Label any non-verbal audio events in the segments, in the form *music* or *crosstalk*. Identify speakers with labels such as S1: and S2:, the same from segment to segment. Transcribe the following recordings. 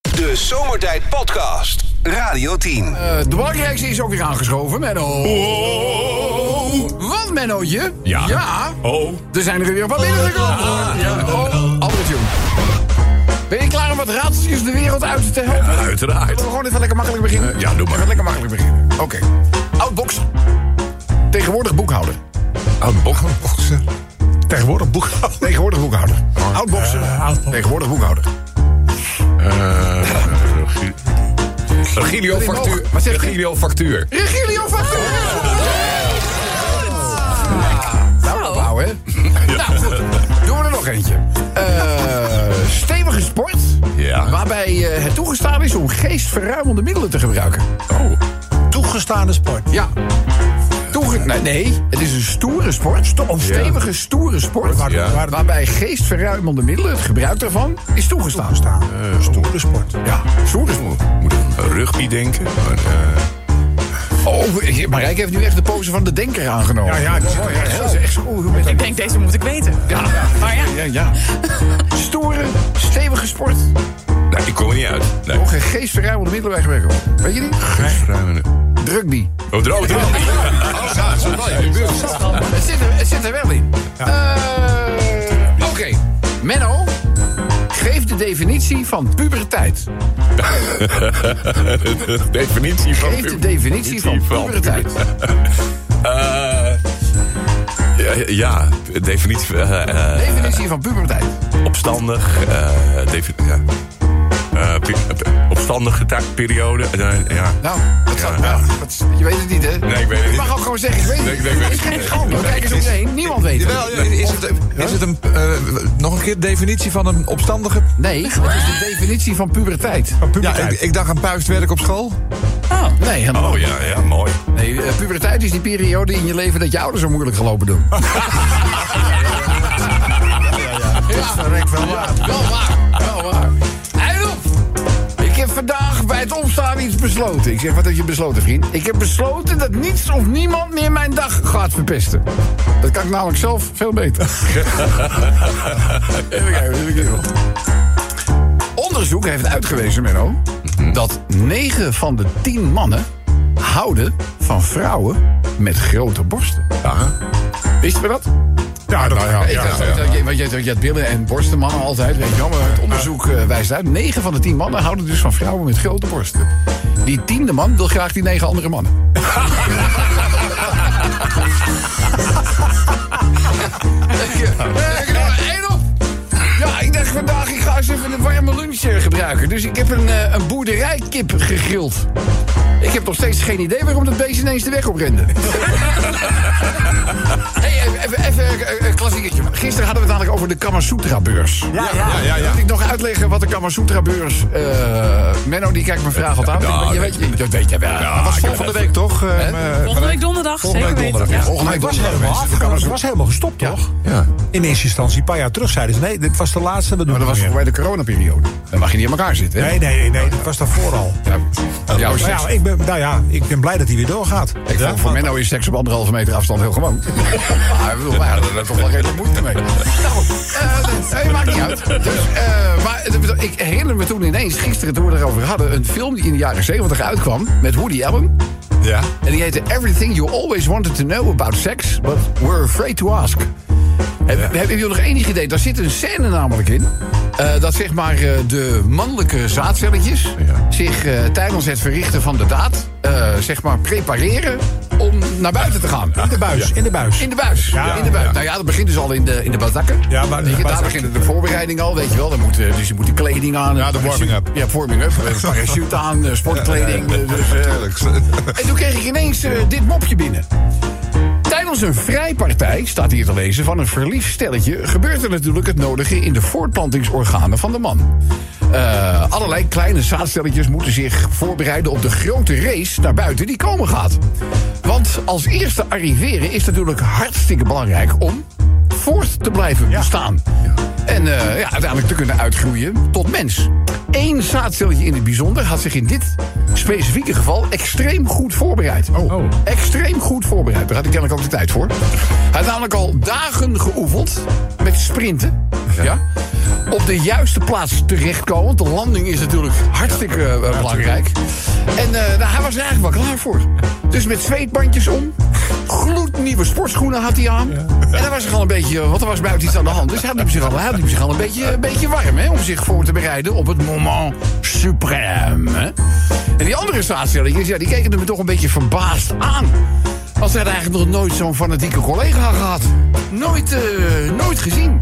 S1: De Zomertijd Podcast. Radio 10.
S2: Eh, de belangrijkste is ook weer aangeschoven, Menno. Wat, Mennootje?
S3: Oh. Ja.
S2: Ja.
S3: Oh.
S2: Er zijn er weer wat binnengekomen. hoor. Ja. Oh, Albert Jong. Ben je klaar om wat raadseltjes de wereld uit te helpen? Laten
S3: Uiteraard. Eh,
S2: we gewoon even lekker makkelijk beginnen?
S3: ja, doe maar.
S2: Even lekker makkelijk beginnen. Oké. Oud bokser. Tegenwoordig boekhouder.
S3: Oud bochtbokser. Tegenwoordig boekhouder.
S2: Tegenwoordig boekhouder. Oud bokser.
S3: Oh. Eh, oud bokser.
S2: Tegenwoordig boekhouder.
S3: Regilio
S2: Wat
S3: factuur.
S2: zeg je?
S3: Regilio factuur.
S2: Regilio van Nou, opbouw, hè? Nou, goed. Doen we er nog eentje. Eh, stevige sport.
S3: Ja.
S2: Waarbij eh, het toegestaan is om geestverruimende middelen te gebruiken.
S3: Oh.
S4: Toegestaande sport.
S2: Ja. Toege nee, nee, het is een stoere sport. Sto of stevige, stoere sport. waar-
S3: Ja.
S2: waar- waarbij geestverruimende middelen, het gebruik daarvan, is toegestaan.
S4: Staan. Stoere sport.
S2: Ja, stoere sport.
S3: Moet ik aan rugby denken? Maar, eh,
S2: Oh, ik- Marijke heeft nu echt de pose van de denker aangenomen. Oh,
S4: Ja, ja, dat is- ja, dat is echt zo. Oeh, hoe moet
S5: Ik
S4: dat?
S5: denk, deze moet ik weten.
S2: ja.
S5: Maar ja,
S2: Ja, ja. Stoere, stevige sport.
S3: nee, ik kom er niet uit. Nee.
S2: Mogen geestverruimende middelen wegwerken. Weet je niet?
S3: Geestverruimende.
S2: Drugby.
S3: Oh, droog, droog. *laughs* Oh, ja, dat is wel in de buurt.
S2: Het zit er, het zit er wel in. Eh, Oké. Menno, geef de definitie van puberteit.
S3: De Definitie van
S2: Geef de definitie van puberteit.
S3: Eh, ja, ja, definitie van... eh, eh,
S2: Definitie van puberteit.
S3: opstandig, eh, defi- ja. Eh, pi- eh, opstandige ta- periode. eh, ja.
S2: Nou, dat zou-
S3: Ja.
S2: nou, dat is- je weet het niet, hè?
S3: Nee, ik weet het
S2: Je
S3: niet.
S2: mag ook gewoon zeggen, ik weet het
S3: Nee,
S2: niet.
S3: ik weet het
S2: Het is
S3: niet.
S2: geen schande.
S3: Nee.
S2: Kijk eens om je heen. Niemand weet het.
S6: Jawel, is het, is het een, eh, nog een keer definitie van een opstandige...
S2: Nee, het is de definitie van puberteit.
S6: Ja, ik, ik dacht aan puistwerk op school.
S2: Nee, helemaal
S3: Oh ja, ja, mooi.
S2: Nee, eh, puberteit is die periode in je leven dat je ouders zo moeilijk gelopen doen. *laughs* ja,
S4: verrekt wel waar.
S2: Wel waar, wel waar. Eindop! Ik heb vandaag bij het opstaan iets besloten. Ik zeg, wat heb je besloten, vriend? Ik heb besloten dat niets of niemand meer mijn dag gaat verpesten. Dat kan ik namelijk zelf veel *laughs* beter. even kijken, even kijken. Onderzoek heeft uitgewezen, Menno... dat 9 van de 10 mannen houden van vrouwen met grote borsten.
S3: Ja.
S2: Wist je dat? Nou
S4: Ja, dat, ja,
S2: Ik dacht, dat- dat- Want je, je hebt billen en borsten mannen altijd, weet je wel. Maar het onderzoek eh, wijst uit, 9 van de 10 mannen houden dus van vrouwen met grote borsten. Die tiende man wil graag die negen andere mannen. Dank je. Eh, ik heb er nog één op. Ja, ik dacht vandaag, ik ga eens even een warme lunch eh, gebruiken. Dus ik heb een, eh, een boerderijkip gegrild. Ik heb nog steeds geen idee waarom dat beest ineens de weg oprende. Hey, even- even, even eh, een klassieketje. Gisteren hadden we het eigenlijk over de Kama Sutra beurs.
S4: Ja, ja, ja.
S2: Moet ik nog uitleggen wat de Kama Sutra beurs... eh, Menno, die kijkt mijn vraag altijd aan.
S3: Nou,
S2: je weet, je, dat weet je wel.
S3: Ja,
S2: was
S3: ik heb
S2: volgende
S3: het
S2: week toch?
S6: Toch, eh, eh,
S5: volgende week donderdag.
S6: Volgende
S5: zeker
S6: week
S5: weten.
S6: donderdag,
S5: Ja.
S2: Volgende
S4: Het
S2: week
S4: was
S2: donderdag,
S4: helemaal
S2: mensen. De
S4: afgekomen.
S2: Kama
S4: Het
S2: Sutra-
S4: was helemaal gestopt, toch?
S3: Ja.
S4: In eerste instantie, een paar jaar terug zeiden ze... nee, dit was de laatste, we doen
S2: Maar dat
S4: het
S2: was
S4: niet
S2: toch
S4: meer.
S2: bij de coronaperiode. Dan mag je niet aan elkaar zitten, hè?
S4: Nee, nee, nee, nee, dat was daarvoor al.
S2: Ja, jouw
S4: Nou
S2: seks.
S4: ja, ik ben, nou ja, ik ben blij dat hij weer doorgaat.
S2: Ik
S4: Ja,
S2: vond voor
S4: want-
S2: Menno is seks op anderhalve meter afstand heel *laughs* gewoon. Maar ik bedoel, wij hadden er toch wel redelijk moeite mee. Nou, eh, nee, maakt niet uit. Dus, eh, maar het- ik herinner me toen ineens, gisteren toen we het erover hadden... een film die in de jaren zeventig uitkwam met Woody Allen.
S6: ja.
S2: En die heette Everything You Always Wanted to Know About Sex, But Were Afraid to Ask. Heb, Hebben jullie nog enig idee? Daar zit een scène namelijk in. eh, dat zeg maar eh, de mannelijke zaadcelletjes
S3: Ja.
S2: zich eh, tijdens het verrichten van de daad, eh, zeg maar, prepareren om naar buiten te gaan.
S4: In de buis, in de buis.
S2: In de buis.
S4: Ja,
S2: in de buis.
S4: ja.
S2: Nou ja, dat begint dus al in de, in de bazakken.
S4: Ja, maar-
S2: Weet je, daar
S4: bazak.
S2: beginnen de voorbereidingen al, weet je wel. Dan moet, eh, dus je moet de kleding aan.
S6: Ja, de
S2: een parachute-
S6: warming-up.
S2: Ja,
S4: *laughs*
S2: warming-up. eh, Parachute aan, eh, sportkleding. eh, dus, eh, en toen kreeg ik ineens eh, dit mopje binnen. Tijdens een vrijpartij, staat hier te lezen, van een verliefd stelletje... gebeurt er natuurlijk het nodige in de voortplantingsorganen van de man. Eh, allerlei kleine zaadstelletjes moeten zich voorbereiden op de grote race naar buiten die komen gaat. Want als eerste arriveren is natuurlijk hartstikke belangrijk om voort te blijven bestaan. En eh, ja, uiteindelijk te kunnen uitgroeien tot mens. Eén zaadcelletje in het bijzonder had zich in dit specifieke geval extreem goed voorbereid.
S3: Oh.
S2: Extreem goed voorbereid. Daar had ik kennelijk ook de tijd voor. Hij had namelijk al dagen geoefend met sprinten. Ja. op de juiste plaats terechtkomen. Want de landing is natuurlijk hartstikke eh, belangrijk. En eh, nou, hij was er eigenlijk wel klaar voor. Dus met zweetbandjes om. Gloednieuwe sportschoenen had hij aan. En dan was er al een beetje, eh, want er was buiten iets aan de hand. Dus hij liep zich al, hij liep zich al een, beetje, een beetje warm hè, om zich voor te bereiden op het moment suprême. hè. En die andere staatstelletjes, ja, die keken hem toch een beetje verbaasd aan. Als hij had eigenlijk nog nooit zo'n fanatieke collega gehad. Nooit, eh, nooit gezien.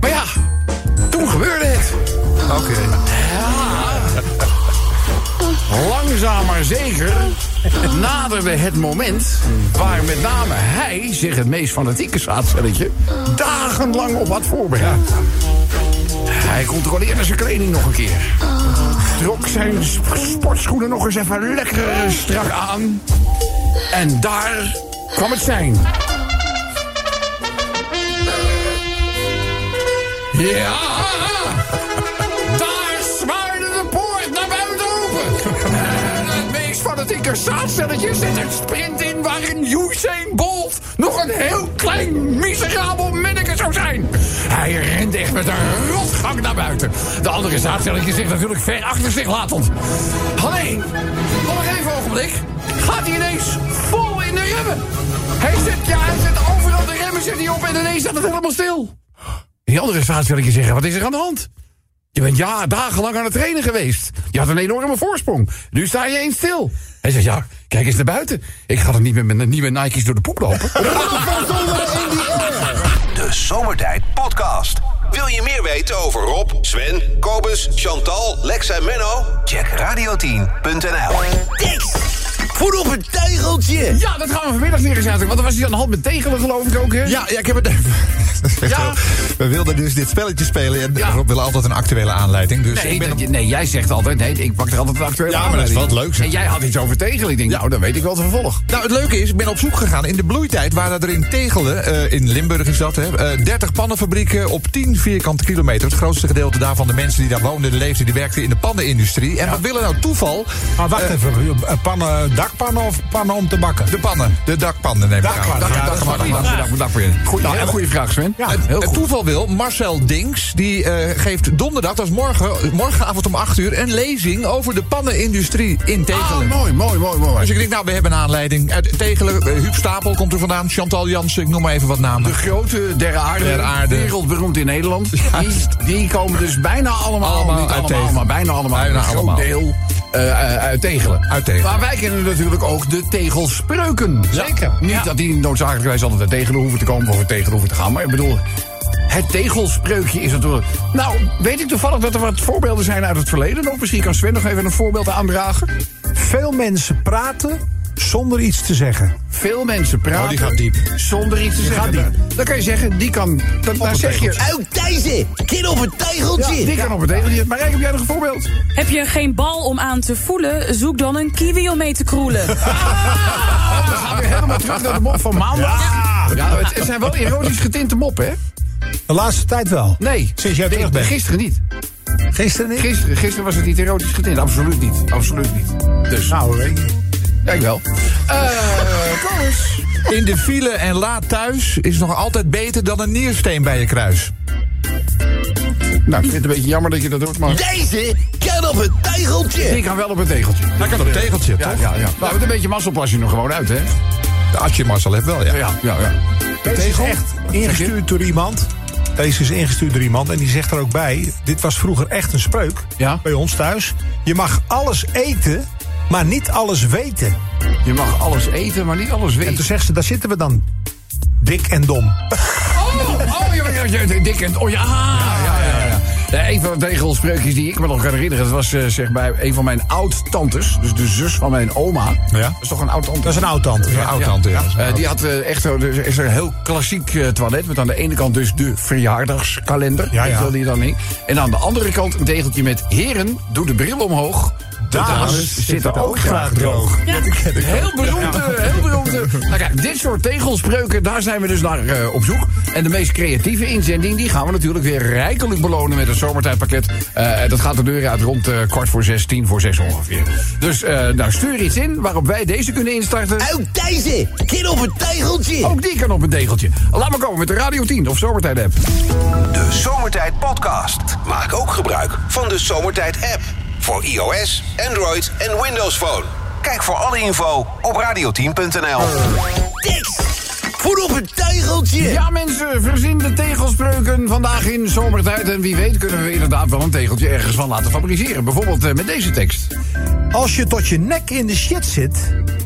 S2: Maar ja, toen gebeurde het. Oké. Langzaam maar zeker naderde het moment waar met name hij zich het meest fanatieke zaadcelletje dagenlang op had voorbereid. Hij controleerde zijn kleding nog een keer. Trok zijn sp- sportschoenen nog eens even lekker eh, strak aan. En daar kwam het zijn. Ja! Daar zwaarde de poort naar buiten open. En het meest fanatieke zaadstelletje zet een sprint in waarin Usain Bolt nog een heel klein, miserabel minneke zou zijn. Hij rent echt met een rotgang naar buiten. De andere zaadstelletjes zich natuurlijk ver achter zich latend. Alleen, nog even ogenblik. Gaat hij ineens vol in de remmen? Hij zet, ja, hij zet overal de remmen zet hij op en ineens staat het helemaal stil. Die andere zaadstelletje zeggen, wat is er aan de hand? Je bent ja, dagenlang aan het trainen geweest. Je had een enorme voorsprong. Nu sta je eens stil. Hij zegt, ja, kijk eens naar buiten. Ik ga er niet met mijn nieuwe Nike's door de poep *laughs* lopen.
S1: De Zomertijd Podcast. Wil je meer weten over Rob, Sven, Kobus, Chantal, Lex en Menno? Check radio10.nl.
S5: Dix, voet op een tegeltje.
S2: ja, dat gaan we vanmiddag weer eens uitleggen. Want er was iets aan de hand met tegelen, geloof ik ook, hè?
S6: Ja, ja, ik heb het *laughs* even. Dat is echt
S2: Ja.
S6: heel- We wilden dus dit spelletje spelen. En
S2: Ja.
S6: Rob wil altijd een actuele aanleiding. Dus
S2: Nee,
S6: ik ben
S2: dat
S6: hem-
S2: je- nee, jij zegt altijd, nee, ik pak er altijd een actuele
S6: Ja, maar dat is
S2: aanleiding.
S6: wel het leukste.
S2: En jij had iets over tegelen. Ik denk, nou, dan weet ik wel het vervolg.
S6: Nou, het leuke is, ik ben op zoek gegaan. In de bloeitijd waren er in Tegelen, eh, in Limburg is dat, hè, eh, 30 pannenfabrieken op 10 vierkante kilometer. Het grootste gedeelte daarvan, de mensen die daar woonden, die leefden, die werkten in de pannenindustrie. En wat willen nou toeval?
S4: Maar wacht even, eh, pannen, dakpannen of pannen om te bakken?
S6: De pannen, de dakpannen neem ik aan.
S4: Dakpannen, ja, dat is een goede vraag.
S2: Goed, nou, een goede vraag, Sven.
S4: Ja.
S2: heel
S6: Het
S2: goed.
S6: toeval wil, Marcel Dinks, die eh, geeft donderdag, dat is morgen, eh, morgenavond om 8 uur, een lezing over de pannenindustrie in
S4: Oh,
S6: Tegelen.
S2: Ah, mooi, mooi, mooi, mooi.
S6: Dus ik denk, nou, we hebben een aanleiding. Uit Tegelen, eh, Huub Stapel komt er vandaan, Chantal Jansen, ik noem maar even wat namen.
S2: De grote der aarde,
S6: Der aarde.
S2: wereldberoemd in Nederland.
S6: Juist.
S2: Die, die komen dus bijna allemaal,
S6: Allemaal
S2: niet
S6: uit
S2: allemaal,
S6: Tegelen.
S2: maar bijna allemaal,
S6: Bijna
S2: een groot
S6: allemaal.
S2: deel eh, eh, uit Tegelen.
S6: Uit Tegelen.
S2: Maar wij kennen natuurlijk ook de tegelspreuken. Zeker. Niet dat die noodzakelijkerwijs altijd uit Tegelen hoeven te komen of uit Tegelen hoeven te gaan, maar ik bedoel... Het tegelspreukje is natuurlijk... Nou, weet ik toevallig dat er wat voorbeelden zijn uit het verleden? Of misschien kan Sven nog even een voorbeeld aandragen.
S4: Veel mensen praten zonder iets te zeggen.
S2: Veel mensen praten
S4: Oh, die gaat diep.
S2: zonder iets te zeggen. Dan kan je zeggen, die kan... Dan, dan zeg je,
S5: Uit Thijssen, kind op een tegeltje.
S2: Die kan op het tegeltje. Maar Rijk, heb jij nog een voorbeeld?
S7: Heb je geen bal om aan te voelen? Zoek dan een kiwi om mee te kroelen.
S2: we gaan weer helemaal terug naar de mop van maandag. Ja, het, het zijn wel erotisch getinte mop, hè?
S4: De laatste tijd wel.
S2: Nee.
S4: Sinds jij
S2: Nee,
S4: terug bent.
S2: Gisteren niet.
S4: Gisteren niet?
S2: Gisteren, gisteren was het niet erotisch getint. Absoluut niet. Absoluut niet. Dus. Nou, weet je. Ja, ik wel. Eh, kom eens.
S6: In de file en laat thuis is nog altijd beter dan een niersteen bij je kruis.
S2: Nou, ik vind het een beetje jammer dat je dat doet, maar...
S5: Deze kan op een
S2: Die
S5: tegeltje.
S2: kan wel op het tegeltje.
S6: Dat kan op tegeltje,
S2: Ja,
S6: toch?
S2: ja, ja. Nou, met een beetje mazzel pas je nog gewoon uit, hè?
S6: Als je Marcel hebt wel, ja.
S2: ja. ja. De
S4: Deze is echt ingestuurd door iemand. Deze is ingestuurd door iemand en die zegt er ook bij... dit was vroeger echt een spreuk
S2: Ja.
S4: bij ons thuis. Je mag alles eten, maar niet alles weten.
S2: Je mag alles eten, maar niet alles
S4: En
S2: weten.
S4: toen zegt ze, daar zitten we dan. Dik en dom.
S2: Oh, oh, ja, ja, ja, ja, dik en... Oh ja, ja, ja, ja. ja. Eh, Een van de tegelspreukjes die ik me nog kan herinneren... dat was eh, zeg bij een van mijn oud-tantes. Dus de zus van mijn oma.
S4: Ja.
S2: Dat is toch een oud-tante?
S4: Dat is een oud-tante.
S6: Een oud-tante, ja.
S2: Eh, die had eh, echt zo, dus is een heel klassiek eh, toilet. Met aan de ene kant dus de verjaardagskalender.
S4: Ja,
S2: Weet je
S4: ja.
S2: wel, die dan in. En aan de andere kant een tegeltje met... Heren, doe de bril omhoog. dames zitten ook graag droog. Heel beroemd. eh, Heel beroemd. eh. Nou kijk, dit soort tegelspreuken, daar zijn we dus naar eh, op zoek. En de meest creatieve inzending, die gaan we natuurlijk weer rijkelijk belonen met een zomertijdpakket. Eh, dat gaat de deur uit rond eh, kwart voor zes, tien voor zes ongeveer. Dus eh, nou, stuur iets in waarop wij deze kunnen instarten.
S5: Uit Thijssen, kind op een tijgeltje.
S2: Ook die kan op een degeltje. Laat maar komen met de Radio 10 of Zomertijd app.
S1: De Zomertijd Podcast. Maak ook gebruik van de Zomertijd app. Voor iOS, Android en Windows Phone. Kijk voor alle info op radio10.nl.
S5: Tekst, voer op een tijgeltje.
S2: Ja, mensen, verzin de tegelspreuken vandaag in zomertijd. En wie weet kunnen we inderdaad wel een tegeltje ergens van laten fabriceren. Bijvoorbeeld eh, met deze tekst.
S4: Als je tot je nek in de shit zit,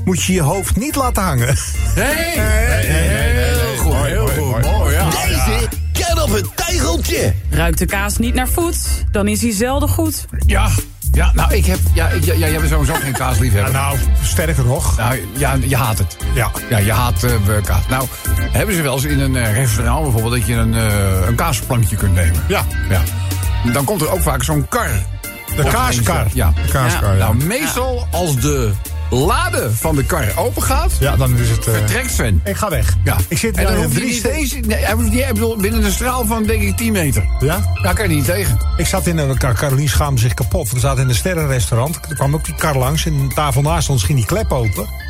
S4: moet je je hoofd niet laten hangen.
S2: Hey, heel goed, heel goed. Mooi, ja.
S5: Thijssen, kind op een tijgeltje.
S7: Ruikt de kaas niet naar voet, dan is hij zelden goed.
S2: Ja, ja, nou, ik heb... Ja, ik, ja, ja, jij bent sowieso geen kaasliefhebber.
S4: Nou, sterker nog.
S2: Nou, ja, je haat het.
S4: Ja.
S2: Ja, je haat eh, kaas. Nou, hebben ze wel eens in een eh, restaurant bijvoorbeeld... dat je een, eh, een kaasplankje kunt nemen.
S4: Ja.
S2: ja. Dan komt er ook vaak zo'n kar.
S4: De kaaskar.
S2: Ja.
S4: De kaaskar, ja.
S2: Nou, meestal als de lade van de kar open gaat,
S4: Ja, dan is het... eh,
S2: vertrekt Sven.
S4: ik ga weg.
S2: Ja.
S4: Ik zit
S2: en dan
S4: bij
S2: hoeft hij
S4: drie
S2: niet
S4: ste-
S2: eens, nee, hij hoeft niet, ik bedoel, binnen een straal van denk ik 10 meter.
S4: Ja?
S2: Daar kan je niet tegen.
S4: Ik zat in een kar. Carolien schaamde zich kapot. We zaten in een sterrenrestaurant. Er kwam ook die kar langs. En de tafel naast ons ging die klep open.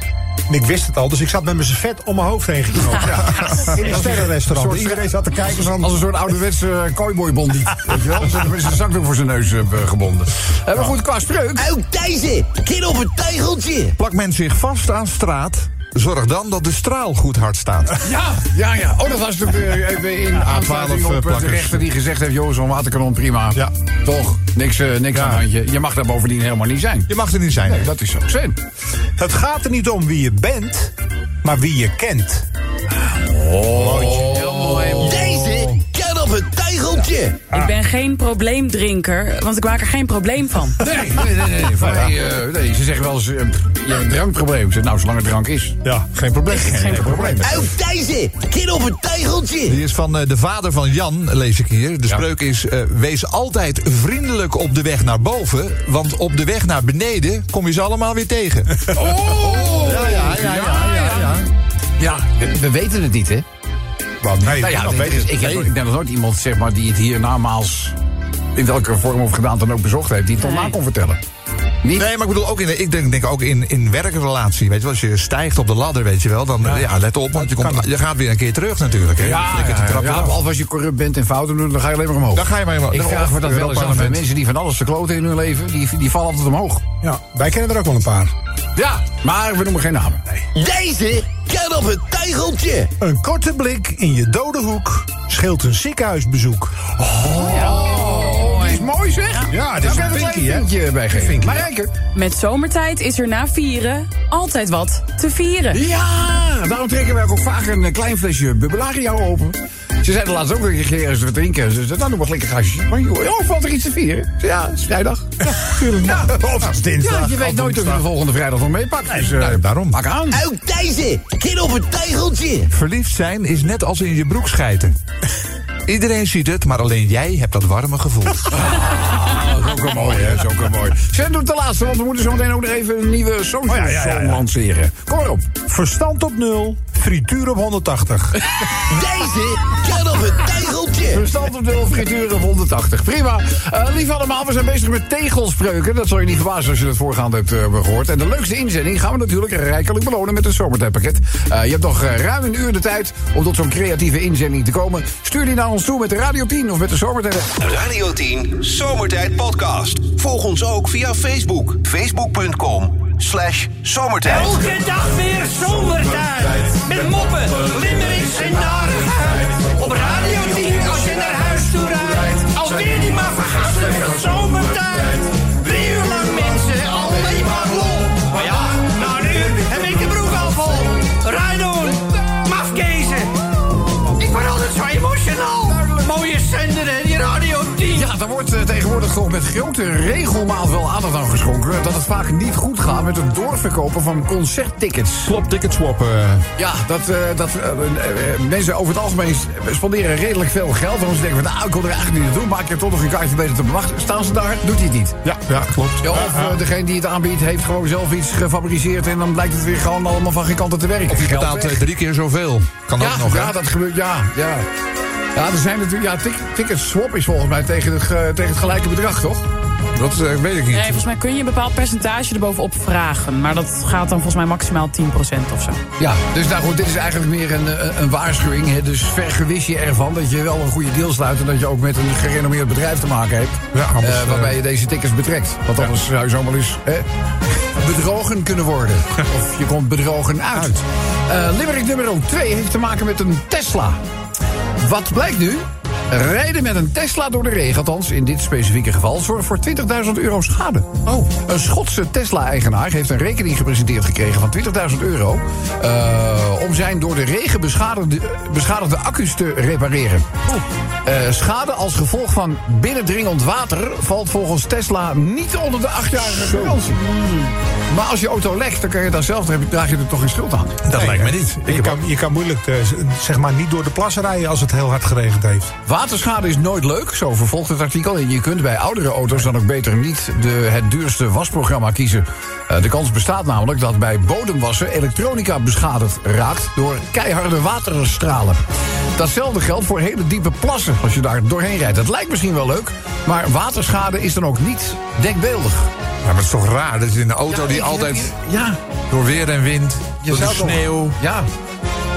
S4: En ik wist het al, dus ik zat met mijn servet om mijn hoofd heen geknoopt. Ja. *laughs* In een sterrenrestaurant. Iedereen zat te kijken. Zo
S2: Als een soort ouderwetse eh, kooiboy-bondi. Weet je wel? Zodat hij met zijn zakdoek voor zijn neus eh, gebonden. Eh, maar goed, qua spreuk.
S5: Uit Thijssen, kind op een tijgeltje.
S6: Plakt men zich vast aan straat, zorg dan dat de straal goed hard staat.
S2: Ja, ja, ja. Oh, dat was de, eh, eh, in aansluiting op eh, de
S6: plakkers.
S2: rechter die gezegd heeft... joh, zo'n waterkanon, prima.
S4: Ja.
S2: Toch, niks, eh, niks aan het handje. Je mag daar bovendien helemaal niet zijn.
S6: Je mag er niet zijn.
S2: Nee, dat is zo. Sven.
S4: Het gaat er niet om wie je bent, maar wie je kent.
S5: Thijssen, kind op een tijgeltje.
S7: Ik ben geen probleemdrinker, want ik maak er geen probleem van.
S2: Nee, nee, nee. nee. Van, hey, eh, nee ze zeggen wel eens, eh, je hebt een drankprobleem. Ik zeg, nou, zolang het drank is.
S4: Ja, geen probleem.
S2: Geen probleem.
S5: Uit Thijssen, kind op een tijgeltje.
S6: Die is van eh, de vader van Jan, lees ik hier. De spreuk is, eh, wees altijd vriendelijk op de weg naar boven... want op de weg naar beneden kom je ze allemaal weer tegen.
S2: Oh! Ja, ja, ja, ja. ja, we, we weten het niet, hè?
S4: Wat? Nee,
S2: Nou ja,
S4: dat
S2: ik-
S4: weet
S2: ik, heb,
S4: Nee.
S2: nog- ik ken nog nooit iemand zeg maar, die het hier namaals... in welke vorm of gedaan dan ook bezocht heeft... die het toch na kon vertellen. Niet?
S6: Nee, maar ik bedoel ook in, de- ik denk, denk ook in, in werkrelatie. Weet je wel, als je stijgt op de ladder, weet je wel, dan ja. let op, want je, komt, je gaat weer een keer terug natuurlijk. Hè. Je flikkert die trap eraf.
S2: als je corrupt bent en fouten doet, dan ga je alleen maar omhoog.
S6: Dan ga je maar helemaal-
S2: Ik
S6: dan-
S2: vraag me dat wel eens af.
S6: Europarlement.
S2: Mensen die van alles verkloten in hun leven, die, die vallen altijd omhoog.
S4: Ja, wij kennen er ook wel een paar.
S2: Ja, maar we noemen geen namen.
S5: Deze kan op het tijgeltje.
S4: Een korte blik in je dode hoek scheelt een ziekenhuisbezoek.
S2: Oh, die is mooi zeg.
S4: Ja, dit is
S2: Daar
S4: een
S2: kan ik
S4: pinkie, hè?
S2: klein puntje bij geven.
S4: Pinkie, ja.
S2: Marijke.
S7: Met zomertijd is er na vieren altijd wat te vieren.
S2: Ja, daarom trekken wij ook vaak een eh, klein flesje bubbelaria open. Ze zeiden laatst ook een keer eens wat drinken. Ze zeiden, nou, nog wat lekker gastjes. Maar joh, joh, valt er iets te vieren? Ik zei, Ja, het is vrijdag. Ja, tuurlijk. Ja,
S4: Of als dinsdag.
S2: Ja, je weet
S4: of
S2: nooit of je
S4: woensdag.
S2: de volgende vrijdag nog meepakt. Dus, eh,
S6: daarom.
S2: Pak aan.
S5: Uit Thijssen, kind op een tijgeltje.
S6: Verliefd zijn is net als in je broek schijten. Iedereen ziet het, maar alleen jij hebt dat warme gevoel.
S2: Dat
S4: Nou,
S2: is ook wel mooi, hè? Dat is ook wel mooi. Sven doet de laatste, want we moeten zo meteen ook nog even een nieuwe song
S4: Oh ja, ja, ja,
S2: song
S4: ja.
S2: lanceren. Kom maar op.
S4: Verstand op nul, frituur op 180.
S5: Deze kan op het tijgeltje.
S2: Verstand op nul, frituur op 180. Prima. Eh lief allemaal, we zijn bezig met tegelspreuken. Dat zal je niet verbazen als je dat voorgaande hebt eh, gehoord. En de leukste inzending gaan we natuurlijk rijkelijk belonen met een zomertijdpakket. Eh, je hebt nog eh, ruim een uur de tijd om tot zo'n creatieve inzending te komen. Stuur die naar ons toe met de Radio 10 of met de zomertijd.
S1: Radio 10 Zomertijd Podcast. Volg ons ook via Facebook. Facebook.com slash zomertijd.
S8: Elke dag weer zomertijd. Met moppen, limmerings en narigheid. Op Radio 10 als je naar huis toe rijdt. Alweer die maar vergasten zomertijd. Drie uur lang mensen, alleen maar lol. Maar ja, nou nu heb ik de broek al vol. Rijdoen, mafkezen. Ik word altijd zo emotional. Mooie zender en die Radio 10.
S2: Ja, daar wordt eh, tegenwoordig is toch met grote regelmaat wel aandacht aan geschonken... dat het vaak niet goed gaat met het doorverkopen van concerttickets.
S6: Klopt, ticket swappen.
S2: Ja, dat, eh, dat eh, eh, eh, mensen over het algemeen spenderen redelijk veel geld. Want ze denken van, nou, ik kon er eigenlijk niet naartoe... maar ik heb toch nog een kaartje beter te bewachten. Staan ze daar, doet hij het niet.
S6: Ja, ja klopt.
S2: Ja, of eh, degene die het aanbiedt heeft gewoon zelf iets gefabriceerd... en dan blijkt het weer gewoon allemaal van geen kanten te werken.
S6: Of je
S2: Geld
S6: betaalt
S2: weg.
S6: eh, drie keer zoveel. Kan
S2: Ja,
S6: ook nog, hè?
S2: ja dat gebeurt, ja, ja. Ja, er zijn natuurlijk, ja, tic- ticket swap is volgens mij tegen het, ge- tegen het gelijke bedrag, toch?
S6: Dat eh, weet ik niet.
S7: Nee, volgens mij kun je een bepaald percentage erbovenop vragen. Maar dat gaat dan volgens mij maximaal 10% of zo.
S2: Ja, dus nou goed, dit is eigenlijk meer een, eh, een waarschuwing. Hè? Dus vergewis je ervan dat je wel een goede deal sluit... en dat je ook met een gerenommeerd bedrijf te maken hebt...
S6: Ja, anders,
S2: eh, waarbij
S6: eh,
S2: je deze tickets betrekt. Want anders zou je zomaar eens hè, bedrogen kunnen
S6: *laughs*
S2: worden. of je komt bedrogen uit. Eh, Limerick nummer 2 heeft te maken met een Tesla. Wat blijkt nu? Rijden met een Tesla door de regen, althans in dit specifieke geval, zorgt voor 20.000 euro schade. Oh. Een Schotse Tesla-eigenaar heeft een rekening gepresenteerd gekregen van 20.000 euro. eh, om zijn door de regen beschadigde, beschadigde accu's te repareren. Eh, schade als gevolg van binnendringend water valt volgens Tesla niet onder de achtjarige garantie. Maar als je auto lekt, dan, kan je daar zelf, dan draag je er toch geen schuld aan.
S6: dat lijkt me niet.
S4: Je kan, je kan moeilijk eh, z- zeg maar, niet door de plas rijden als het heel hard geregend heeft.
S2: Waterschade is nooit leuk, zo vervolgt het artikel. En je kunt bij oudere auto's dan ook beter niet de, het duurste wasprogramma kiezen. Eh, de kans bestaat namelijk dat bij bodemwassen elektronica beschadigd raakt door keiharde waterstralen. Datzelfde geldt voor hele diepe plassen als je daar doorheen rijdt. Het lijkt misschien wel leuk, maar waterschade is dan ook niet denkbeeldig.
S6: Ja, maar het is toch raar dat je in een auto die altijd
S2: Ja,
S6: door weer en wind, door de
S2: zou toch-
S6: sneeuw...
S2: ja.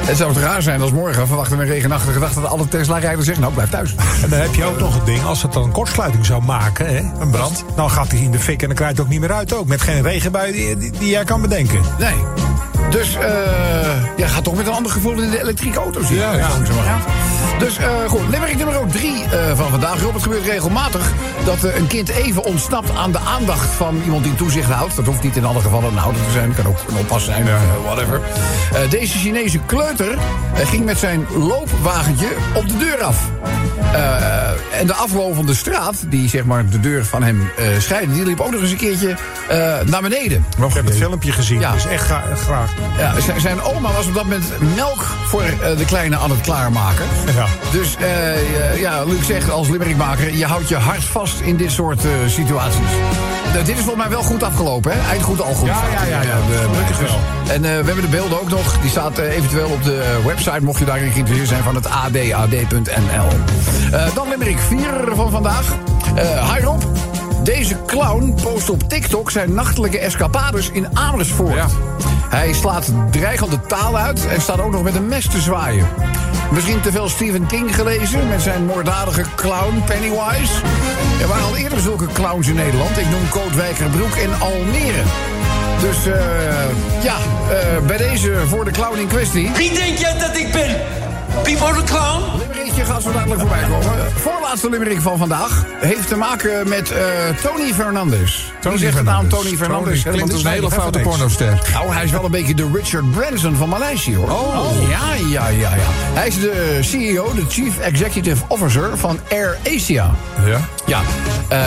S2: Het zou toch raar zijn als morgen verwachten we een regenachtige dag dat alle Tesla-rijders zeggen: Nou, blijf thuis.
S4: En dan heb je ook nog een ding, als het dan een kortsluiting zou maken, hè, een brand, dan gaat hij in de fik en dan krijgt het ook niet meer uit. Ook met geen regenbui die, die, die jij kan bedenken.
S2: Nee. Dus eh ja, gaat toch met een ander gevoel in de elektrische auto zitten.
S4: ja.
S2: Zo langzamerhand. Dus eh goed, limerick nummer 3 van vandaag. Rob, het gebeurt regelmatig dat eh, een kind even ontsnapt aan de aandacht van iemand die toezicht houdt. Dat hoeft niet in alle gevallen een ouder te zijn, kan ook een oppas zijn, eh, whatever. Eh, deze Chinese kleuter eh, ging met zijn loopwagentje op de deur af. Eh, en de aflovende straat, die zeg maar de deur van hem eh scheidde, die liep ook nog eens een keertje eh, naar beneden.
S4: Ik heb het filmpje gezien,
S2: Ja.
S4: dus echt gra- graag.
S2: Ja, z- zijn oma was op dat moment melk voor eh, de kleine aan het klaarmaken.
S4: Ja.
S2: Dus eh, ja, Luc zegt als limmerikmaker... je houdt je hart vast in dit soort eh, situaties. Nou, dit is volgens mij wel goed afgelopen, hè? Eind goed, al goed.
S4: Ja, ja, ja, ja.
S2: de-
S4: Gelukkig wel.
S2: En eh, we hebben de beelden ook nog. Die staat eh, eventueel op de eh, website... mocht je daarin geïnteresseerd zijn van het AD, ad.nl. Eh, dan limmerik 4 van vandaag. Eh hi Rob. Deze clown post op TikTok zijn nachtelijke escapades in Amersfoort.
S6: Ja.
S2: Hij slaat dreigende taal uit en staat ook nog met een mes te zwaaien. Misschien te veel Stephen King gelezen met zijn moorddadige clown Pennywise. Er waren al eerder zulke clowns in Nederland. Ik noem Kootwijkerbroek en Almere. Dus eh, ja, eh, bij deze voor de clown in kwestie.
S8: Wie denk jij dat ik ben? Pipo de Clown?
S2: Limerickje gaat zo dadelijk voorbij komen. Eh, Voorlaatste limerick van vandaag heeft te maken met eh, Tony Fernandes. Tony zegt de naam Tony Fernandes. helemaal
S6: Klinkt als een
S2: te
S6: hele
S2: snel.
S6: foute
S2: Even niks.
S6: pornoster.
S2: Nou, hij is wel een beetje de Richard Branson van Maleisië, hoor. Oh. Ja, ja, ja, ja. Hij is de CEO, de Chief Executive Officer van Air Asia.
S6: Ja.
S2: Ja, eh,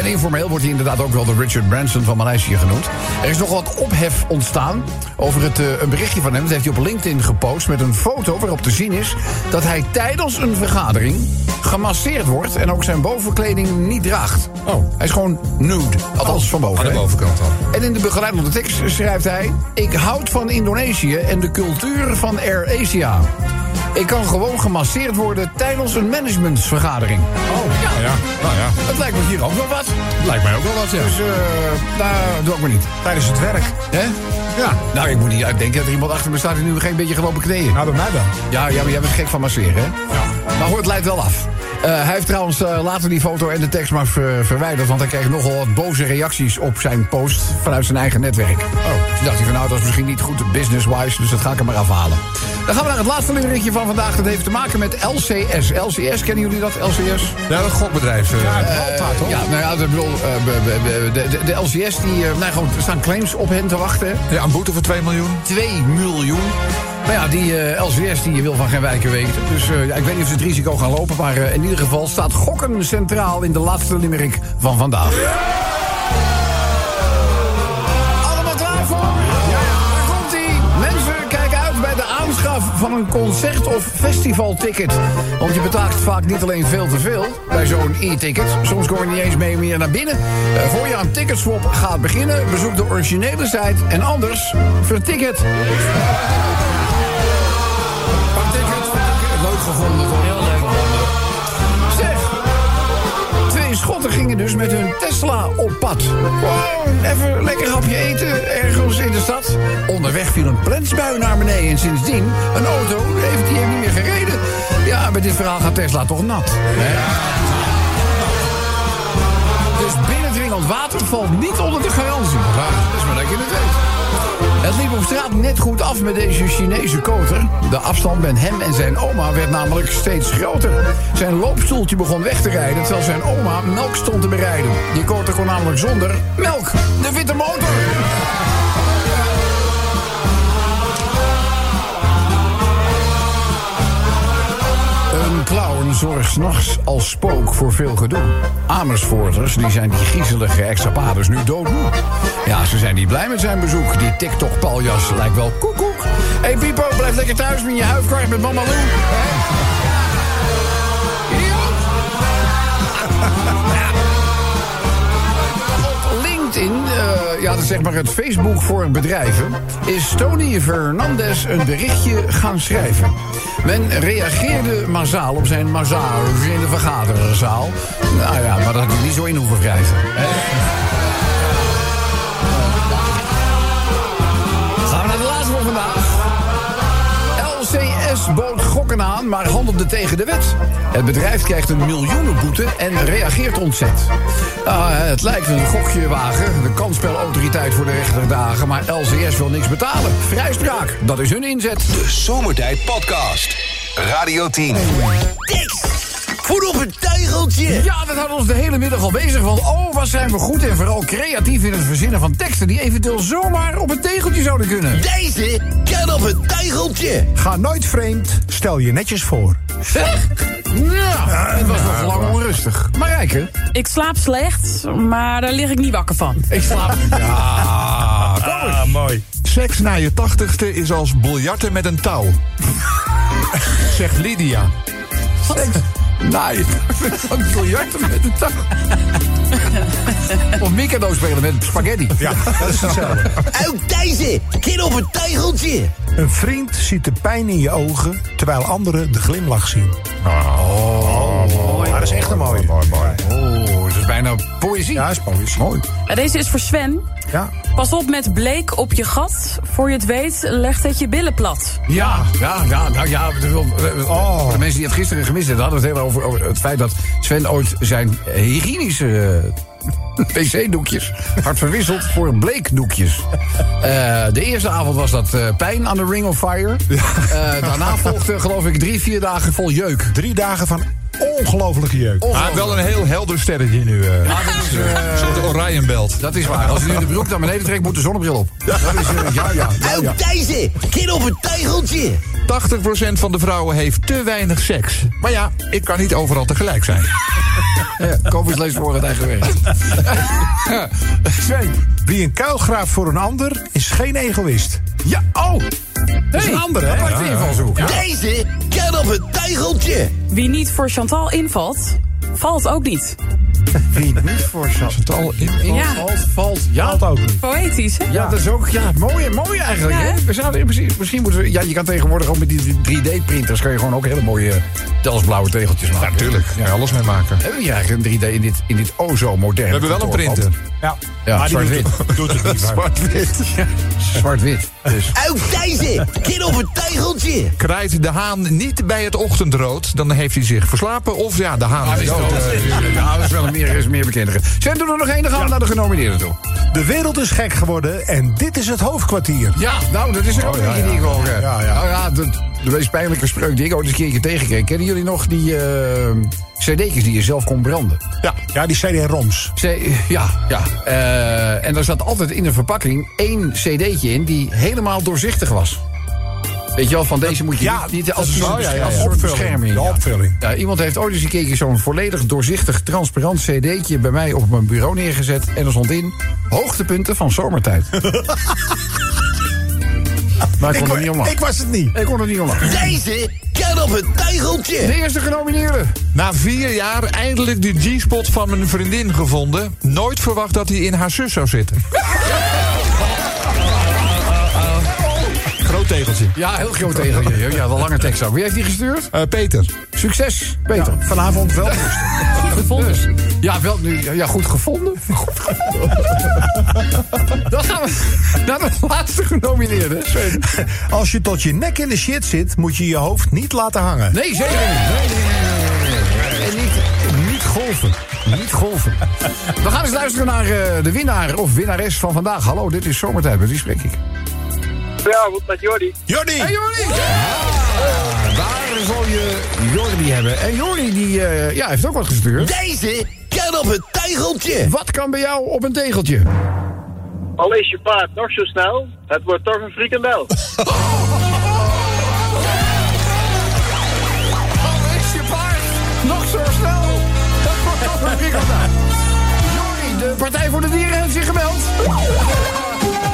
S2: en informeel wordt hij inderdaad ook wel de Richard Branson van Maleisië genoemd. Er is nog wat ophef ontstaan over het, eh, een berichtje van hem. Dat heeft hij op LinkedIn gepost met een foto waarop te zien is... dat hij tijdens een vergadering gemasseerd wordt... en ook zijn bovenkleding niet draagt.
S6: Oh.
S2: Hij is gewoon nude. Althans, van boven.
S6: Aan de
S2: hè?
S6: bovenkant dan.
S2: En in de begeleidende tekst schrijft hij... Ik houd van Indonesië en de cultuur van Air Asia. Ik kan gewoon gemasseerd worden tijdens een managementsvergadering. Oh, ja.
S6: Ja, nou ja.
S2: Het lijkt me hier ook wel wat.
S6: Lijkt mij ook wel wat, ja.
S2: Dus, eh, nou, doe ik maar niet.
S4: Tijdens het werk.
S2: Hè? Ja. Nou, ik moet niet uitdenken dat er iemand achter me staat die nu geen beetje gelopen knieën.
S4: Nou, bij mij dan.
S2: Ja, ja, maar jij bent gek van masseren, hè? Ja. Maar hoor, het leidt wel af. Eh, hij heeft trouwens eh, later die foto en de tekst maar ver- verwijderd... want hij kreeg nogal wat boze reacties op zijn post vanuit zijn eigen netwerk. Oh. Toen dacht hij van, nou, dat is misschien niet goed business-wise... dus dat ga ik er maar afhalen. Dan gaan we naar het laatste nummertje van vandaag. Dat heeft te maken met LCS. LCS, kennen jullie dat, LCS?
S6: Ja, dat gokbedrijf. eh,
S2: Eh, Ja, nou ja, ik bedoel, eh, be- be- be- de, de, de LCS, die, eh, nou, gewoon, er staan claims op hen te wachten.
S6: ja, een boete voor 2 miljoen.
S2: 2 miljoen. Nou ja, die eh LCS die wil van geen wijken weten. Dus eh, ja, ik weet niet of ze het risico gaan lopen. Maar eh, in ieder geval staat gokken centraal in de laatste limerick van vandaag. Allemaal klaar voor? Ja, daar komt ie. Mensen, kijk uit bij de aanschaf van een concert- of festivalticket. Want je betaalt vaak niet alleen veel te veel bij zo'n e-ticket. Soms kom je niet eens mee meer naar binnen. Eh, voor je aan ticketswap gaat beginnen, bezoek de originele site. En anders, verticket. Verticket, leuk gevonden. toch? Zeg, Twee schotten gingen dus met hun Tesla op pad. Gewoon even een lekker hapje eten ergens in de stad. Onderweg viel een plensbui naar beneden en sindsdien een auto heeft die heeft niet meer gereden. Ja, met dit verhaal gaat Tesla toch nat. hè? Dus binnendringend water valt niet onder de garantie. Dat is maar dat je het weet. Het liep op straat net goed af met deze Chinese koter. De afstand met hem en zijn oma werd namelijk steeds groter. Zijn loopstoeltje begon weg te rijden terwijl zijn oma melk stond te bereiden. Die koter kon namelijk zonder melk. De witte motor. Een clown zorgt s'nachts als spook voor veel gedoe. Amersfoorters die zijn die griezelige ex-apaders nu doodmoe. Ja, ze zijn niet blij met zijn bezoek. Die TikTok-paljas lijkt wel koekoek. Hé hey, Pipo, blijf lekker thuis met je huifkart met mama Lou. Hè? Idioot! Op LinkedIn, eh, ja, dat is zeg maar het Facebook voor bedrijven, is Tony Fernandez een berichtje gaan schrijven. Men reageerde massaal op zijn massaal in de vergaderzaal. Nou ja, maar dat had hij niet zo in hoeven wrijven. hè. Gaan we naar de laatste van vandaag. LCS bood gokken aan, maar handelde tegen de wet. Het bedrijf krijgt een miljoenenboete en reageert ontzet. Ah, het lijkt een gokjewagen, de kansspelautoriteit voor de rechterdagen... maar LCS wil niks betalen. Vrijspraak, dat is hun inzet.
S1: De Zomertijd Podcast. Radio 10.
S5: Dix. Voet op een tijgeltje.
S2: Ja, dat houdt ons de hele middag al bezig. Want oh, wat zijn we goed en vooral creatief in het verzinnen van teksten... die eventueel zomaar op een tegeltje zouden kunnen.
S5: Deze kan op een tijgeltje.
S4: Ga nooit vreemd, stel je netjes voor.
S2: Nou, het was nog lang onrustig. Marijke,
S7: Ik slaap slecht, maar daar lig ik niet wakker van.
S2: ik
S4: *laughs*
S2: slaap...
S3: Ah, mooi.
S6: Seks na je tachtigste is als biljarten met een touw. *laughs* Zegt Lydia.
S2: Nee, een biljarten met de tang. Of Mikado spelen met spaghetti.
S4: Ja, dat is hetzelfde.
S5: Ook deze kan op een tijgeltje.
S4: Een vriend ziet de pijn in je ogen, terwijl anderen de glimlach zien. Oh, dat is echt een mooie. Mooi, mooi.
S2: Oh, dat is bijna poëzie.
S4: Ja, dat is mooi. Mooi.
S7: Eh, Deze is voor Sven.
S4: Ja.
S7: Pas op met bleek op je gat. Voor je het weet, legt het je billen plat.
S2: Ja, ja, ja. Nou ja, we- we- we-
S4: Oh.
S2: voor de mensen die het gisteren gemist hebben, hadden we het heel over, over het feit dat Sven ooit zijn hygiënische eh, *laughs* wc-doekjes had verwisseld voor bleekdoekjes. Eh, de eerste avond was dat eh, pijn aan de Ring of Fire. Eh, daarna volgde, geloof ik, drie, vier dagen vol jeuk.
S4: Drie dagen van ongelofelijke jeuk.
S6: Ah, wel een heel helder sterretje nu. eh. Een soort Orionbelt.
S2: Dat is waar. Als je nu de broek naar beneden trekt, moet de zonnebril op. Dat is, eh, ja, ja.
S5: Ook deze kan op een tijgeltje.
S6: 80% van de vrouwen heeft te weinig seks. Maar ja, ik kan niet overal tegelijk zijn.
S2: *laughs* ja. Koffies leest voor het eigen werk. Sven.
S4: Wie een kuil graaft voor een ander, is geen egoïst.
S2: Ja, oh. Dat is een andere, hè? Apart invalshoek.
S5: Deze kan op een tijgeltje.
S7: Wie niet voor Chantal invalt, valt ook niet.
S4: Wie niet voor zat.
S6: Tal in.
S7: Ja.
S2: Valt, valt, ja.
S4: Valt ook niet.
S7: Poëtisch, hè?
S2: Ja, dat is ook ja, mooi, mooi eigenlijk.
S7: Ja,
S2: hè?
S7: hè?
S2: We zouden in principe, misschien moeten we, ja, je kan tegenwoordig ook met die 3D-printers kan je gewoon ook hele mooie eh, Delsblauwe tegeltjes maken.
S6: Natuurlijk, ja, alles mee maken.
S2: Hebben we hier eigenlijk een 3D in dit, in dit o zo moderne
S6: We hebben wel een
S2: kantoorpand?
S6: printer.
S4: Ja,
S2: Ja,
S4: maar die
S2: zwart-wit.
S4: doet het, *laughs* doet het niet. vaak. *laughs*
S6: Zwart-wit.
S2: Zwart-wit. Dus.
S5: Ook deze kan op een tijgeltje.
S6: Krijgt de haan niet bij het ochtendrood, dan heeft hij zich verslapen. Of ja, de haan is dood.
S2: eh, Ja, dat is wel een meer, is een meer bekendere. Zijn er nog één? Dan gaan we naar de genomineerden toe.
S4: De wereld is gek geworden en dit is het hoofdkwartier.
S2: Ja, nou, dat is er ook
S4: ja,
S2: eentje
S4: ja.
S2: die ik wel... eh,
S4: Ja, ja.
S2: Nou ja, de, de meest pijnlijke spreuk die ik ooit eens een keertje tegenkreeg. Kennen jullie nog die eh cd'tjes die je zelf kon branden?
S4: Ja, ja die CD-ROMs.
S2: Ze- ja, ja. Eh, en daar zat altijd in de verpakking één cd'tje in die helemaal doorzichtig was. Weet je wel, van deze moet je
S4: Ja,
S2: niet, niet als,
S4: dat is
S2: een
S4: wel,
S2: soort-
S4: ja, ja,
S2: als
S4: ja.
S2: een soort
S4: Opvulling.
S2: bescherming.
S4: De
S2: ja.
S4: opvulling.
S2: Ja, iemand heeft ooit eens een keertje zo'n volledig doorzichtig, transparant cd'tje... bij mij op mijn bureau neergezet en er stond in... hoogtepunten van
S4: *laughs*
S2: zomertijd. maar ik kon er niet om lachen.
S4: Ik was het niet.
S2: Ik kon er niet om lachen.
S9: Deze kan op het tijgeltje.
S2: De eerste genomineerde.
S10: Na vier jaar eindelijk de G-spot van mijn vriendin gevonden. Nooit verwacht dat hij in haar zus zou zitten. Groot tegeltje.
S2: Ja, heel groot tegen je. Ja, wel lange tekst ook. Wie heeft die gestuurd?
S10: Eh, Peter.
S2: Succes, Peter.
S4: Vanavond wel.
S2: Goed gevonden. Ja, wel nu. Ja, goed gevonden. *laughs* Goed gevonden. Dan gaan we naar de laatste genomineerde. Sven.
S4: *laughs* Als je tot je nek in de shit zit, moet je je hoofd niet laten hangen.
S2: Nee, zeker niet. Nee, nee, nee, nee, nee. En niet, niet golven. Niet golven. We gaan eens luisteren naar eh, de winnaar of winnares van vandaag. Hallo, dit is Zomertijd. Met wie spreek ik?
S11: Ja, goed met Jordi.
S4: Jordi!
S2: Hey, Jordi! Daar zal je Jordi hebben. En Jordi die, eh, ja, heeft ook wat gestuurd.
S9: Deze kan op het tijgeltje.
S2: Wat kan bij jou op een tegeltje?
S11: Al is je paard nog zo snel, het wordt toch een frikandel.
S2: Al is je paard nog zo snel. Dat wordt toch een frikandel. Jordi, de Partij voor de Dieren heeft zich gemeld.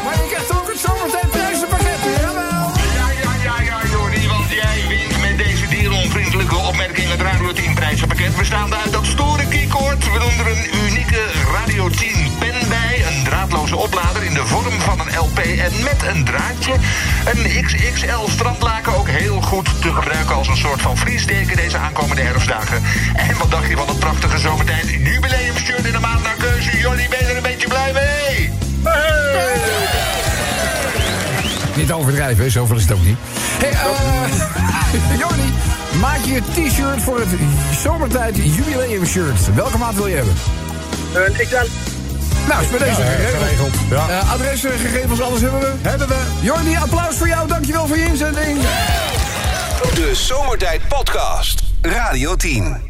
S2: Maar je krijgt ook het zomertijd prijzenpakket. Jawel.
S6: Ja, ja, ja, ja, Jordi, want jij wint met deze dieronvriendelijke opmerking het Radio 10 prijzenpakket bestaande uit dat stoere keycord. We doen er een unieke Radio 10 pen bij, een draadloze oplader in de vorm van een LP en met een draadje. Een XXL strandlaken, ook heel goed te gebruiken als een soort van vriesdeken deze aankomende herfstdagen. En wat dacht je van het prachtige zomertijd jubileumshirt in de maand naar keuze? Jordi, ben je er een beetje blij mee?
S2: Niet overdrijven, hè, zoveel is het ook niet. Hey, eh, *laughs* Jordi, maak je t-shirt voor het zomertijd jubileum shirt. Welke maat wil je hebben?
S11: En ik zei,
S2: Nou, is bij deze geregeld.
S4: Geregeld. Ja.
S2: Eh, adressen, gegevens, alles hebben we.
S4: Hebben we.
S2: Jordi, applaus voor jou. Dankjewel voor je inzending.
S1: De Zomertijd Podcast. Radio 10.